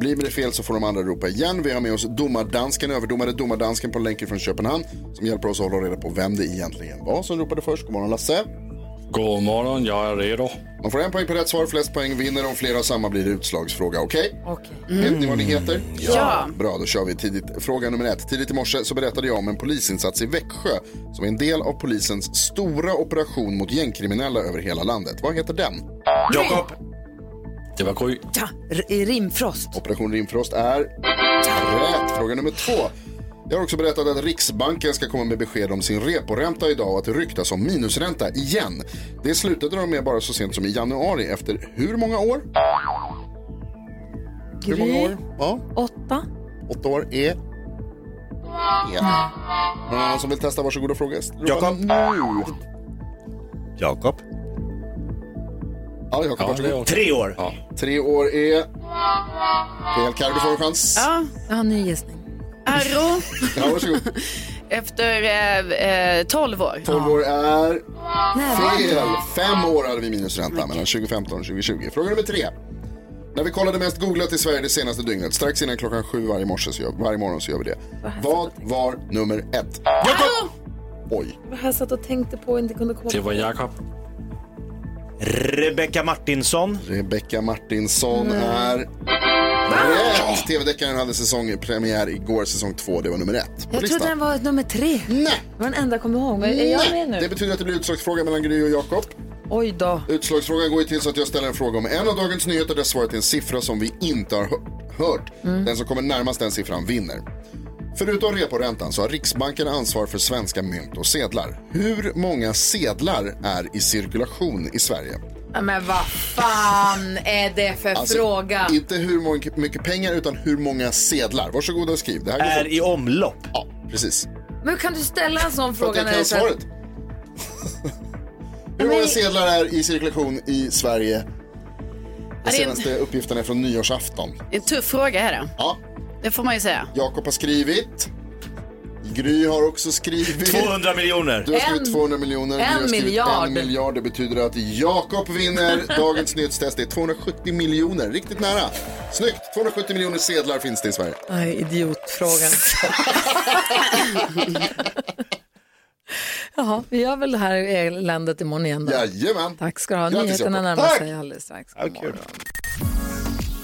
B: Blir det fel så får de andra ropa igen. Vi har med oss domardansken, överdomare domardansken på länken från Köpenhamn som hjälper oss att hålla reda på vem det egentligen var som ropade först. God morgon Lasse.
L: God morgon, jag är redo.
B: Man får en poäng per rätt svar, flest poäng vinner. Om flera av samma blir det utslagsfråga, okej? Vet ni vad ni heter?
U: Mm. Ja. Ja.
B: Bra, då kör vi tidigt. Fråga nummer ett. Tidigt i morse så berättade jag om en polisinsats i Växjö som är en del av polisens stora operation mot gängkriminella över hela landet. Vad heter den?
L: Jakob. Det var Gry.
A: Ja, i Rimfrost.
B: Operation Rimfrost är rätt. Fråga nummer två. Jag har också berättat att Riksbanken ska komma med besked om sin reporänta idag och att det ryktas om minusränta igen. Det slutade de med bara så sent som i januari efter hur många år? Hur många
U: Mm.
B: år? Ja.
A: Åtta.
B: Åtta år är... Ja. Någon annan som vill testa? Varsågod och fråga. Jakob.
C: Jakob.
B: Ja,
C: Ja,
B: Jakob,
C: det är
B: varsågod.
C: okej. Tre år. Ja.
B: Tre år är... Fel. Carro, du får en chans.
D: Ja,
A: ja ny gissning.
D: Arro.
B: Ja, varsågod.
D: Efter eh, eh, 12 år.
B: 12 år är...
D: Nej,
B: Fel!
D: vad?
B: Fem år hade vi minusränta mellan 2015 och 2020. Fråga nummer tre. När vi kollade mest googlat i Sverige det senaste dygnet, strax innan klockan sju varje, morse så gör, varje morgon så gör vi det. Vad var nummer ett? Jakob! Oj.
A: Vad jag satt och tänkte på och inte kunde komma
L: Det var Jakob.
C: Rebecka Martinsson.
B: Rebecka Martinsson
A: Mm.
B: är
A: Ah!
B: rätt. Tv-deckaren hade säsongpremiär igår, säsong två. Det var nummer ett. på
A: Jag
B: listan.
A: trodde den var nummer tre.
B: Nej.
A: Det var den enda jag kom ihåg. Men är jag
B: Nej,
A: med nu?
B: Det betyder att det blir utslagsfråga mellan Gry och Jakob.
A: Oj då.
B: Utslagsfrågan går ju till så att jag ställer en fråga om en av dagens nyheter där svaret är en siffra som vi inte har hö- hört.
A: Mm.
B: Den som kommer närmast den siffran vinner. Förutom reporäntan så har Riksbanken ansvar för svenska mynt och sedlar. Hur många sedlar är i cirkulation i Sverige?
A: Ja, Men vad fan är det för
B: Alltså,
A: fråga?
B: Inte hur mång- mycket pengar utan hur många sedlar. Varsågoda och skriv. Det
C: Är i omlopp.
B: Ja, precis.
A: Men kan du ställa en sån
B: För att
A: fråga?
B: jag kan
A: det är så här-
B: svaret. Hur många sedlar är i cirkulation i Sverige? Den
D: det är en-
B: senaste uppgiften är från nyårsafton.
D: En tuff fråga här då.
B: Ja.
D: Det får man ju säga.
B: Jakob har skrivit. Gry har också skrivit.
C: 200 miljoner.
B: Du har skrivit
A: En-
B: 200
A: en
B: miljoner. Gry har skrivit
A: miljard.
B: En miljard. Det betyder att Jakob vinner dagens nyhetstest. Det är 270 miljoner. Riktigt nära. Snyggt. 270 miljoner sedlar finns det i Sverige.
P: Nej,
A: [LAUGHS]
P: idiotfrågan.
A: Jaha, vi gör väl det här eländet imorgon igen då.
B: Jajamän.
A: Tack ska du ha.
P: Grattis,
A: Nyheterna
P: Jakob.
A: närmar
P: Tack.
A: sig alldeles strax. God morgon.